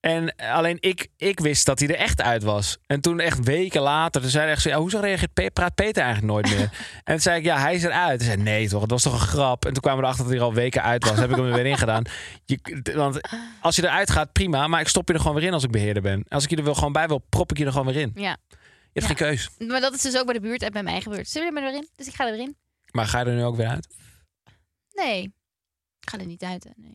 A: En eh, alleen ik, ik wist dat hij er echt uit was. En toen echt weken later, toen zei hij echt zo... Ja, hoezo reageert Pe- praat Peter eigenlijk nooit meer? en toen zei ik, ja, hij is eruit. Hij zei, nee toch, het was toch een grap? En toen kwamen we erachter dat hij er al weken uit was. heb ik hem er weer in gedaan. Je, want als je eruit gaat, prima. Maar ik stop je er gewoon weer in als ik beheerder ben. Als ik je er wel gewoon bij wil, prop ik je er gewoon weer in.
B: Ja.
A: Je hebt geen keus.
B: Maar dat is dus ook bij de buurt en bij mij gebeurd. Zullen we er maar in? Dus ik ga er weer in.
A: Maar ga je er nu ook weer uit?
B: Nee. Ik ga er niet uit. hè. Nee.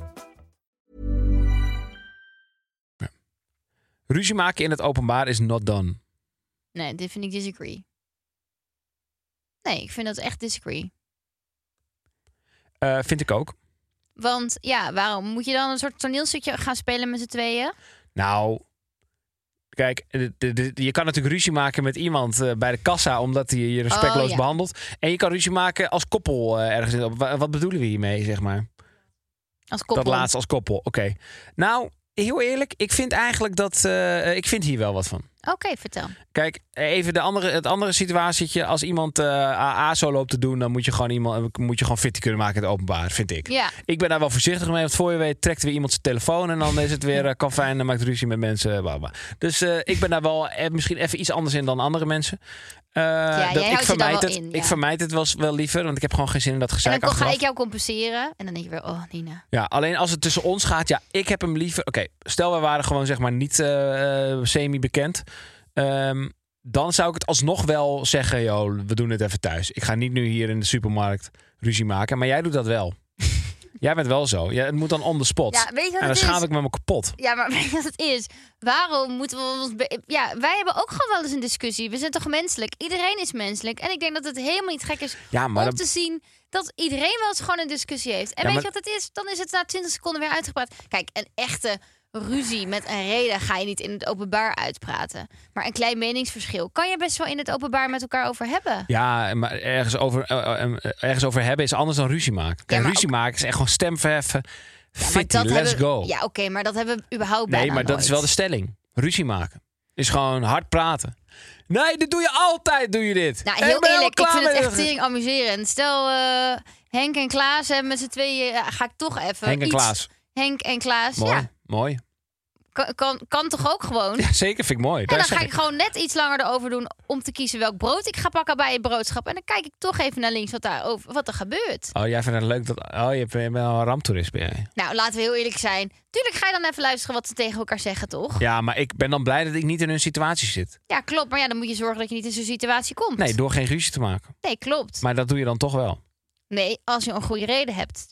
A: Ruzie maken in het openbaar is not done.
B: Nee, dit vind ik disagree. Nee, ik vind dat echt disagree.
A: Eh, vind ik ook.
B: Want ja, waarom moet je dan een soort toneelstukje gaan spelen met z'n tweeën?
A: Nou, kijk, de- de- de- je kan natuurlijk ruzie maken met iemand eh, bij de kassa omdat hij je respectloos
B: Oh, ja.
A: behandelt. En je kan ruzie maken als koppel eh, ergens. in- Wa- Wat bedoelen we hiermee, zeg maar?
B: Als koppel.
A: Dat laatste als koppel. Oké. Nou, heel eerlijk, ik vind eigenlijk dat. eh, ik vind hier wel wat van.
B: Oké, vertel.
A: Kijk, even de andere, het andere situatietje. Als iemand eh, AA zo loopt te doen, dan moet je gewoon iemand eh, moet je gewoon fit kunnen maken in het openbaar, vind ik.
B: Ja.
A: Ik ben daar wel voorzichtig mee, want voor je weet trekt weer iemand zijn telefoon en dan is het weer eh, kafijn en maakt ruzie met mensen. bla, bla. Dus eh, ik ben daar wel eh, misschien even iets anders in dan andere mensen. Eh,
B: jij
A: dat,
B: houdt je
A: ik
B: daar
A: vermijd
B: wel
A: het,
B: in, ja.
A: ik vermijd het wel, wel liever, want ik heb gewoon geen zin in dat gezeik
B: En dan ga
A: achteraf.
B: ik jou compenseren. En dan denk je weer, oh Nina.
A: Ja, alleen als het tussen ons gaat, ja, ik heb hem liever. Oké, stel wij waren gewoon zeg maar niet eh, eh, semi-bekend. Ehm, dan zou ik het alsnog wel zeggen, joh, we doen het even thuis. Ik ga niet nu hier in de supermarkt ruzie maken, maar jij doet dat wel. jij bent wel zo. Ja, het moet dan on the spot.
B: Ja, weet je wat
A: en dan
B: het
A: schaam
B: is?
A: ik me me kapot.
B: Ja, maar weet je wat het is? Waarom moeten we ons... be- Ja, wij hebben ook gewoon wel eens een discussie. We zijn toch menselijk? Iedereen is menselijk. En ik denk dat het helemaal niet gek is
A: Ja, maar
B: om
A: dan-
B: te zien dat iedereen wel eens gewoon een discussie heeft. En
A: Ja,
B: weet je
A: maar-
B: wat het is? Dan is het na 20 seconden weer uitgepraat. Kijk, een echte ruzie met een reden ga je niet in het openbaar uitpraten. Maar een klein meningsverschil kan je best wel in het openbaar met elkaar over hebben.
A: Ja, maar ergens over, eh, eh, eh, ergens over hebben is anders dan ruzie maken. Kijk,
B: maar
A: ruzie maken is echt gewoon stem verheffen.
B: Maar
A: Fitty,
B: dat
A: let's
B: hebben-
A: go.
B: Ja, oké, maar dat hebben we überhaupt bijna
A: Nee, maar dat is wel de
B: nooit.
A: stelling. Ruzie maken. Is gewoon hard praten. Nee, dit doe je altijd, doe je dit.
B: Nou,
A: Ik
B: heel
A: ben helemaal
B: eerlijk, ik
A: klaar
B: vind het
A: met
B: echt
A: dit.
B: tering amuserend. Stel, eh, Henk en Klaas hebben met z'n tweeën... ja, ga ik toch even
A: Henk en
B: iets-
A: Klaas.
B: Henk en Klaas,
A: Mooi,
B: ja.
A: mooi.
B: Kan, kan, kan toch ook gewoon?
A: Ja, zeker, vind ik mooi.
B: en
A: Daar
B: dan
A: zeg
B: ga ik
A: ik.
B: gewoon net iets langer erover doen om te kiezen welk brood ik ga pakken bij het broodschap. En dan kijk ik toch even naar links wat, daar over, wat er gebeurt.
A: Oh, jij vindt het leuk dat... Oh, je bent wel een ramptoerist, ben jij.
B: Nou, laten we heel eerlijk zijn. Tuurlijk ga je dan even luisteren wat ze tegen elkaar zeggen, toch? Ja,
A: Ja, maar ik ben dan blij dat ik niet in hun situatie zit.
B: klopt. Maar ja, dan moet je zorgen dat je niet in zo'n situatie komt.
A: Nee, door geen ruzie te maken.
B: Nee, klopt.
A: Maar dat doe je dan toch wel.
B: Nee, als je een goede reden hebt.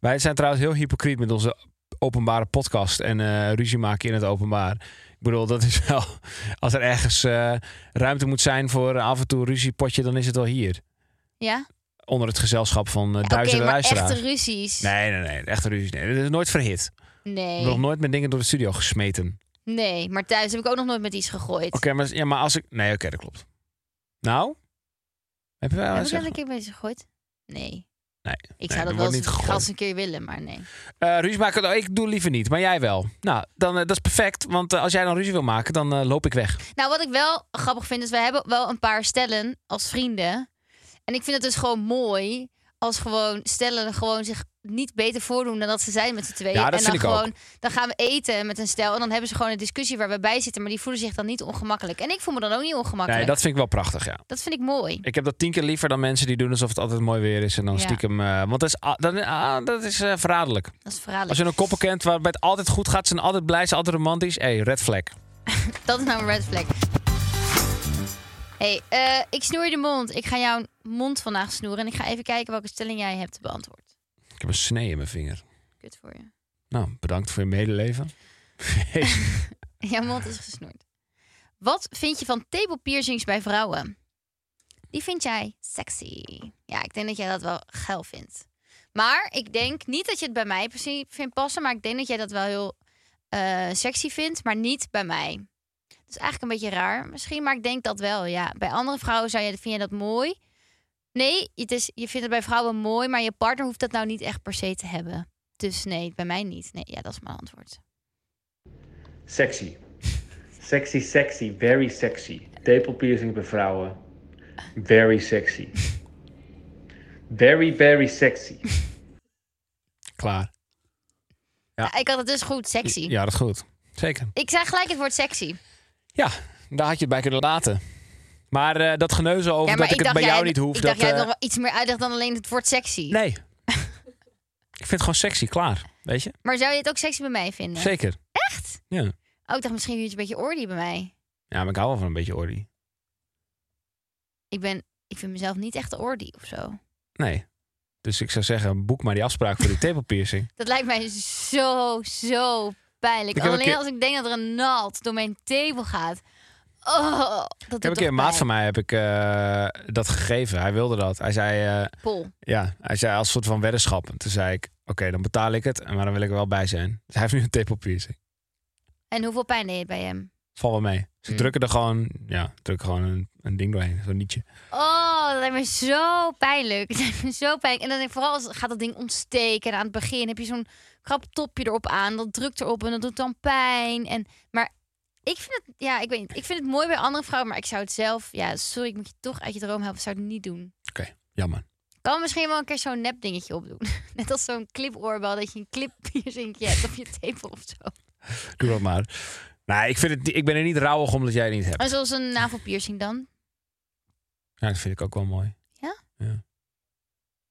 A: Wij zijn trouwens heel hypocriet met onze openbare podcast en eh, ruzie maken in het openbaar. Ik bedoel, dat is wel... Als er ergens eh, ruimte moet zijn voor eh, af en toe een ruziepotje, dan is het wel hier.
B: Ja?
A: onder het gezelschap van eh,
B: Ja, Oké,
A: duizenden
B: maar
A: luisteraars.
B: echte ruzies.
A: Nee, nee, nee. Echte ruzie. Nee, dat is nooit verhit. Ik heb
B: Nee.
A: nog nooit met dingen door de studio gesmeten. Oké,
B: Nee, maar thuis heb ik ook nog nooit met iets gegooid.
A: maar, ja, maar als ik... Nee, oké, dat klopt. Nou? Heb je wel
B: Heb
A: eens...
B: ik dat een keer met iets gegooid? Nee.
A: Nee, nee,
B: Ik zou
A: er wordt
B: dat wel eens
A: niet gegooid.
B: als een keer willen, maar nee.
A: Eh, ruzie maken, nou, ik doe liever niet. Maar jij wel. Nou, dan, eh, dat is perfect. Want eh, als jij dan ruzie wil maken, dan eh, loop ik weg.
B: Nou, wat ik wel grappig vind, is we hebben wel een paar stellen als vrienden. En ik vind het dus gewoon mooi als gewoon stellen gewoon zich niet beter voordoen dan dat ze zijn met z'n tweeën.
A: Ja, dat
B: en dan
A: vind ik ook.
B: gewoon, dan gaan we eten met een stel en dan hebben ze gewoon een discussie waar we bij zitten, maar die voelen zich dan niet ongemakkelijk. En ik voel me dan ook niet ongemakkelijk.
A: Nee, dat vind ik wel prachtig, ja.
B: dat vind ik mooi.
A: Ik heb dat tien keer liever dan mensen die doen alsof het altijd mooi weer is. En dan
B: Ja.
A: stiekem... eh, want dat is, ah, dat, ah, dat is eh, verraderlijk.
B: Dat is verraderlijk.
A: Als je een koppel kent waarbij het altijd goed gaat, ze zijn altijd blij, ze zijn altijd romantisch. Hé, hey, red flag.
B: Dat is nou een red flag. hey, eh, ik snoer je de mond. Ik ga jouw mond vandaag snoeren. En ik ga even kijken welke stelling jij hebt beantwoord.
A: Ik heb een snee in mijn vinger.
B: Kut voor je.
A: Nou, bedankt voor je medeleven.
B: Jouw mond is gesnoerd. Wat vind je van tepelpiercings bij vrouwen? Die vind jij sexy. Ja, ik denk dat jij dat wel geil vindt. Maar ik denk niet dat je het bij mij precies vindt passen. Maar ik denk dat jij dat wel heel eh, sexy vindt. Maar niet bij mij. Dat is eigenlijk een beetje raar misschien. Maar ik denk dat wel, ja. Bij andere vrouwen zou jij, vind je dat mooi. Nee, het is, je vindt het bij vrouwen mooi. Maar je partner hoeft dat nou niet echt per se te hebben. Dus nee, bij mij niet. Nee, ja, dat is mijn antwoord.
D: Sexy. Sexy, sexy, very sexy. Tepelpiercing bij vrouwen. Very sexy. Very, very sexy.
A: Klaar. Ja.
B: Ik had het dus goed, sexy.
A: Ja, dat is goed. Zeker.
B: Ik zei gelijk het woord sexy.
A: Ja, daar had je het bij kunnen laten. Maar eh, dat geneuzen over
B: ja,
A: dat ik, het bij
B: jij-
A: jou niet hoef.
B: Ik
A: dat,
B: dacht, jij
A: eh,
B: hebt nog wel iets meer uitleg dan alleen het woord sexy.
A: Nee. ik vind het gewoon sexy, klaar. Weet je?
B: Maar zou je het ook sexy bij mij vinden?
A: Zeker.
B: Echt?
A: Ja.
B: Oh, ik dacht misschien vind je het een beetje ordy bij mij.
A: ja, maar ik hou wel van een beetje ordy.
B: Ik ben... Ik vind mezelf niet echt ordy of zo.
A: Nee. Dus ik zou zeggen, boek maar die afspraak voor die tepelpiercing.
B: Dat lijkt mij zo, zo pijnlijk.
A: Ik heb een
B: Alleen
A: keer-
B: als ik denk dat er een naald door mijn tepel gaat. Oh, dat doet
A: Ik heb een keer een maat van mij heb ik, eh, dat gegeven. Hij wilde dat. Hij zei, eh,
B: Pol.
A: ja, hij zei als soort van weddenschap. En toen zei ik, oké, dan betaal ik het. Maar dan wil ik er wel bij zijn. Dus hij heeft nu een tepelpiercing.
B: En hoeveel pijn deed het bij hem?
A: Val wel mee. Ze
B: Mm.
A: drukken er gewoon, ja, drukken gewoon een, een ding doorheen. Zo'n nietje.
B: Oh, dat lijkt me zo pijnlijk. Dat lijkt me zo pijnlijk. En dan denk ik, vooral als gaat dat ding ontsteken. En aan het begin heb je zo'n krap topje erop aan. Dat drukt erop en dat doet dan pijn. En, maar ik vind het, ja, ik weet niet. Ik vind het mooi bij andere vrouwen, maar ik zou het zelf, ja, sorry, ik moet je toch uit je droom helpen. Ik zou het niet doen.
A: Oké, jammer.
B: Kan we misschien wel een keer zo'n nep dingetje opdoen. Net als zo'n clipoorbel dat je een clippiercingje hebt op je tepel of zo.
A: Doe dat maar. Nou, ik, vind het, niet- ik ben er niet rauwig om dat jij het niet hebt.
B: En zoals een navelpiercing dan.
A: Ja, dat vind ik ook wel mooi.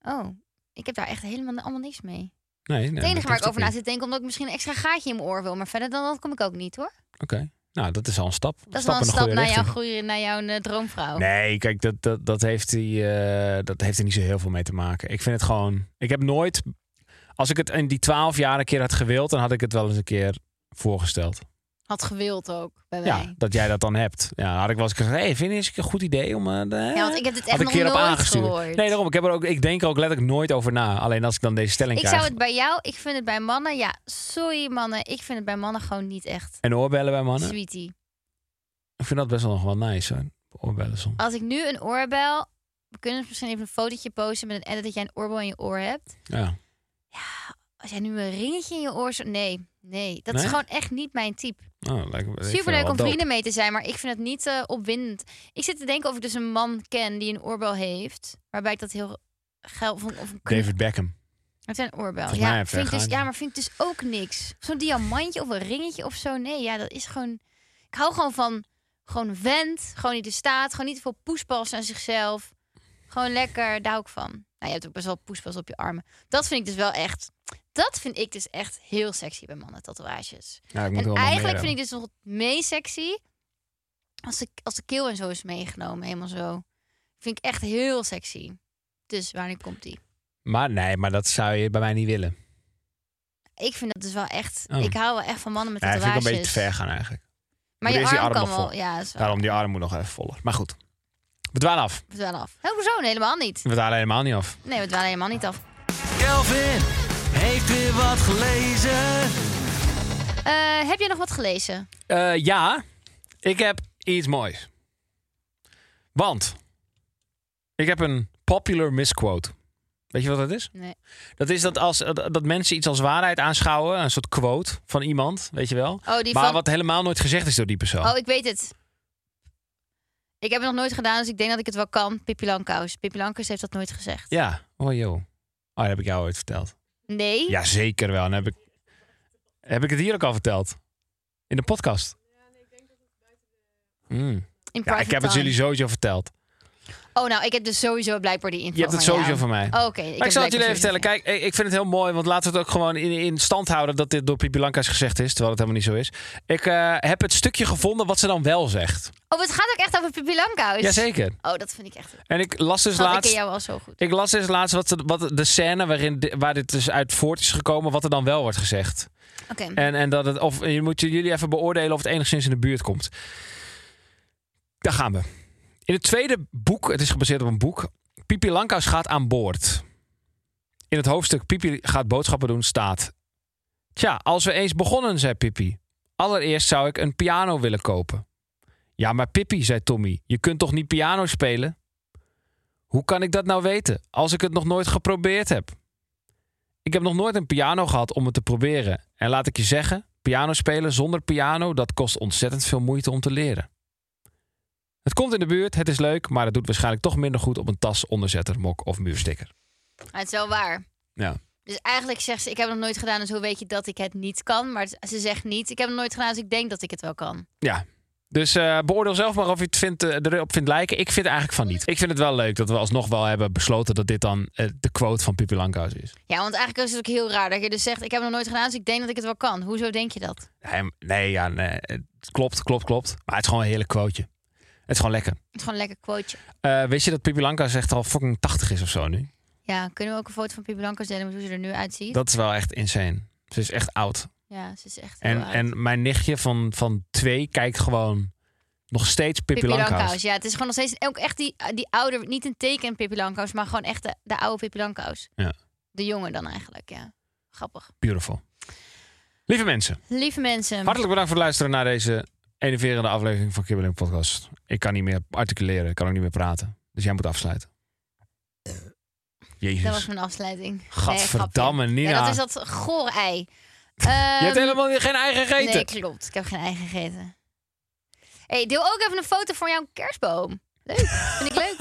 B: Oh, ik heb daar echt helemaal allemaal niks mee.
A: Nee, nee,
B: Het enige
A: dat
B: waar
A: hoeft
B: ik
A: ook
B: over na
A: niet.
B: zit te denken, omdat ik misschien een extra gaatje in mijn oor wil. Maar verder dan dat kom ik ook niet hoor.
A: Oké, nou dat is al een stap.
B: Dat is
A: stap
B: wel een
A: in de
B: stap
A: goede
B: naar jouw,
A: richting.
B: groeien, naar jouw eh, droomvrouw.
A: Nee, kijk, dat, dat, dat, heeft hij, eh, dat heeft er niet zo heel veel mee te maken. Ik vind het gewoon... Ik heb nooit... Als ik het in die twaalf jaar een keer had gewild... dan had ik het wel eens een keer voorgesteld.
B: Had gewild ook bij
A: Ja,
B: mij.
A: dat jij dat dan hebt. Ja, dan had ik wel eens gezegd... Hé, hey, vind je eens een goed idee om... eh, de-
B: Ja, want ik heb dit
A: had
B: echt
A: ik
B: nog
A: een keer
B: nooit
A: op aangestuurd.
B: gehoord.
A: Nee, daarom. Ik, heb er ook, ik denk er ook letterlijk nooit over na. Alleen als ik dan deze stelling
B: ik
A: krijg...
B: zou het bij jou, ik vind het bij mannen, ja, sorry mannen, ik vind het bij mannen gewoon niet echt.
A: En oorbellen bij mannen?
B: Sweetie.
A: Ik vind dat best wel nog wel nice, hoor. Oorbellen soms.
B: Als ik nu een oorbel, we kunnen dus misschien even een fotootje posten met een edit dat jij een oorbel in je oor hebt.
A: Ja.
B: Als jij nu een ringetje in je oor zou, nee, nee, dat is
A: Nee?
B: gewoon echt niet mijn type.
A: Oh, lijkt me, ik vind het
B: Superleuk
A: wel
B: om
A: dope.
B: vrienden mee te zijn, maar ik vind het niet eh, opwindend. Ik zit te denken of ik dus een man ken die een oorbel heeft, waarbij ik dat heel geil vond. Of een knip-
A: David Beckham.
B: Het zijn oorbel.
A: Volgens mij
B: Ja,
A: heeft
B: vind ik
A: hij
B: dus,
A: geheim.
B: ja, maar vind ik dus ook niks. Zo'n diamantje of een ringetje of zo. Nee, ja, dat is gewoon. Ik hou gewoon van gewoon vent, gewoon niet de staat, gewoon niet te veel poespas aan zichzelf. Gewoon lekker, daar hou ik van. Nou, je hebt ook best wel poespas op je armen. Dat vind ik dus wel echt. Dat vind ik dus echt heel sexy bij mannen tatoeages.
A: Ja, ik moet
B: En
A: wel wat
B: eigenlijk
A: meer
B: vind ik dus nog het meest sexy als de, als de keel en zo is meegenomen, helemaal zo. Vind ik echt heel sexy. Dus wanneer komt die?
A: hebben. Maar nee, maar dat zou je bij mij niet willen.
B: Ik vind dat dus wel echt.
A: Oh.
B: Ik hou wel echt van mannen met
A: Ja, dat vind ik
B: tatoeages.
A: een beetje te ver gaan eigenlijk.
B: Maar
A: Maar
B: je
A: er is die
B: arm
A: arm
B: kan
A: nog
B: wel.
A: vol.
B: Ja, is wel,
A: Daarom die arm moet nog even voller. Maar goed. We dwalen af.
B: is wel af. Hé, hoezo? Nee, helemaal niet.
A: We dwalen helemaal niet af.
B: Nee, we dwalen helemaal niet af.
C: Kelvin heeft weer wat gelezen.
B: Eh, heb jij nog wat gelezen?
A: Eh, ja, ik heb iets moois. Want ik heb een popular misquote. Weet je wat dat is?
B: Nee.
A: Dat is dat, als, dat dat mensen iets als waarheid aanschouwen. Een soort quote van iemand, weet je wel.
B: Oh, die
A: maar
B: van...
A: wat helemaal nooit gezegd is door die persoon.
B: Oh, ik weet het. Ik heb het nog nooit gedaan, dus ik denk dat ik het wel kan. Pippi Lankaus. Pippi Lankaus heeft dat nooit gezegd.
A: Ja, oh joh. Oh, dat heb ik jou ooit verteld.
B: Nee?
A: Ja, zeker wel. En heb ik, heb ik het hier ook al verteld? In de podcast? Mm.
B: In
A: Ja, ik heb het jullie sowieso verteld.
B: Oh, nou, ik heb dus sowieso blijkbaar die info
A: Je hebt het
B: van
A: sowieso
B: jou.
A: van mij.
B: Oh, Oké.
A: maar
B: heb
A: ik zal het jullie
B: blijkbaar
A: even vertellen.
B: sowieso
A: Kijk, ik ik vind het heel mooi, want laten we het ook gewoon in, in stand houden dat dit door Pipi Lanka's gezegd is, terwijl het helemaal niet zo is. Ik eh, heb het stukje gevonden wat ze dan wel zegt.
B: van- Oh, het gaat ook echt over Pippi Lankaus?
A: Jazeker.
B: Oh, dat vind ik echt...
A: En ik las dus
B: Schat, ik ken
A: laatst.
B: jou al zo goed.
A: Ik las dus laatst wat, de- wat de scène waarin, di- waar dit dus uit voort is gekomen, wat er dan wel wordt gezegd.
B: Oké.
A: En, en dat het, of je moet jullie even beoordelen of het enigszins in de buurt komt. Daar gaan we. In het tweede boek, het is gebaseerd op een boek, Pipi Lankhuis gaat aan boord. In het hoofdstuk Pipi gaat boodschappen doen staat. Tja, als we eens begonnen, zei Pipi. Allereerst zou ik een piano willen kopen. Ja, maar Pippi, zei Tommy, je kunt toch niet piano spelen? Hoe kan ik dat nou weten, als ik het nog nooit geprobeerd heb? Ik heb nog nooit een piano gehad om het te proberen. En laat ik je zeggen, piano spelen zonder piano, dat kost ontzettend veel moeite om te leren. Het komt in de buurt, het is leuk, maar het doet waarschijnlijk toch minder goed op een tas, onderzetter, mok of muursticker.
B: Maar Het is wel waar.
A: Ja.
B: Dus eigenlijk zegt ze, ik heb het nog nooit gedaan, dus hoe weet je dat ik het niet kan? Maar ze zegt niet, ik heb het nog nooit gedaan, dus ik denk dat ik het wel kan.
A: Ja. Dus eh, beoordeel zelf maar of je het vindt, eh, erop vindt lijken. Ik vind eigenlijk van niet. Ik vind het wel leuk dat we alsnog wel hebben besloten dat dit dan eh, de quote van Pippi Langkous is.
B: Ja, want eigenlijk is het ook heel raar dat je dus zegt, ik heb het nog nooit gedaan, dus ik denk dat ik het wel kan. Hoezo denk je dat?
A: Nee, nee, ja, nee, het klopt, klopt, klopt. Maar het is gewoon een heerlijk quoteje. Het is gewoon lekker.
B: Het is gewoon een lekker quoteje.
A: Eh wist je dat Pippi Langkous echt al fucking 80 is of zo nu?
B: Ja, kunnen we ook een foto van Pippi Langkous zetten met hoe ze er nu uitziet?
A: Dat is wel echt insane. Ze is echt oud.
B: Ja, ze is echt heel
A: En,
B: oud.
A: en mijn nichtje van, van twee kijkt gewoon nog steeds Pippi, Langkous.
B: Ja, het is gewoon nog steeds ook echt die, die oude, niet een teken Pippi Langkous, maar gewoon echt de, de oude Pippi Langkous.
A: Ja.
B: De jongen dan eigenlijk, ja. Grappig.
A: Beautiful. Lieve mensen,
B: Lieve mensen.
A: hartelijk bedankt voor het luisteren naar deze enerverende aflevering van Kibbeling Podcast. Ik kan niet meer articuleren, ik kan ook niet meer praten. Dus jij moet afsluiten. Jezus.
B: Dat was mijn afsluiting. Nee,
A: Gadverdamme,
B: grapje.
A: Nina.
B: Ja, dat is dat goor ei.
A: Je hebt helemaal geen eigen gegeten.
B: Ehm, Nee, klopt. Ik heb geen eigen gegeten. hey, deel ook even een foto van jouw kerstboom. Leuk. Vind ik leuk.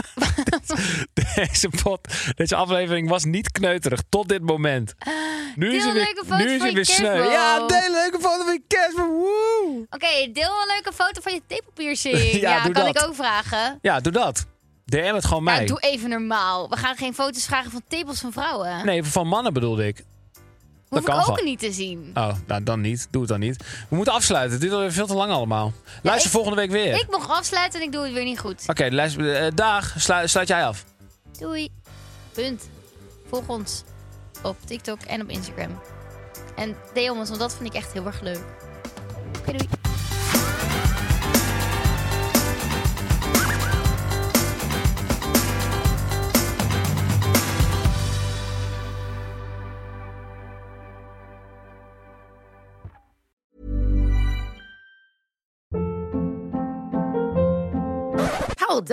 A: Deze, pot, deze aflevering was niet kneuterig tot dit moment. Nu
B: Ah, deel
A: is het
B: een
A: weer,
B: leuke foto
A: nu is
B: van
A: het
B: je
A: weer sneu.
B: kerstboom.
A: Ja, deel een leuke foto van je kerstboom. Woe!
B: Oké, deel een leuke foto van je tepelpiercing.
A: Ja,
B: ja,
A: doe
B: kan
A: dat.
B: ik ook vragen.
A: Ja, doe dat. DM het gewoon
B: Ja,
A: mij.
B: doe even normaal. We gaan geen foto's vragen van tepels van vrouwen.
A: Nee, van mannen bedoelde ik.
B: Hoef
A: kan
B: ik ook
A: gewoon.
B: niet te zien.
A: Oh, nou, dan niet. Doe het dan niet. We moeten afsluiten. Het duurt alweer veel te lang allemaal. Luister
B: ik-
A: volgende week weer.
B: Ik mocht afsluiten en ik doe het weer niet goed.
A: Oké, luister. eh, dag. Sluit, sluit jij af.
B: Doei. Punt. Volg ons op TikTok en op Instagram. En deel ons, want dat vind ik echt heel erg leuk. Oké, doei.
E: Hold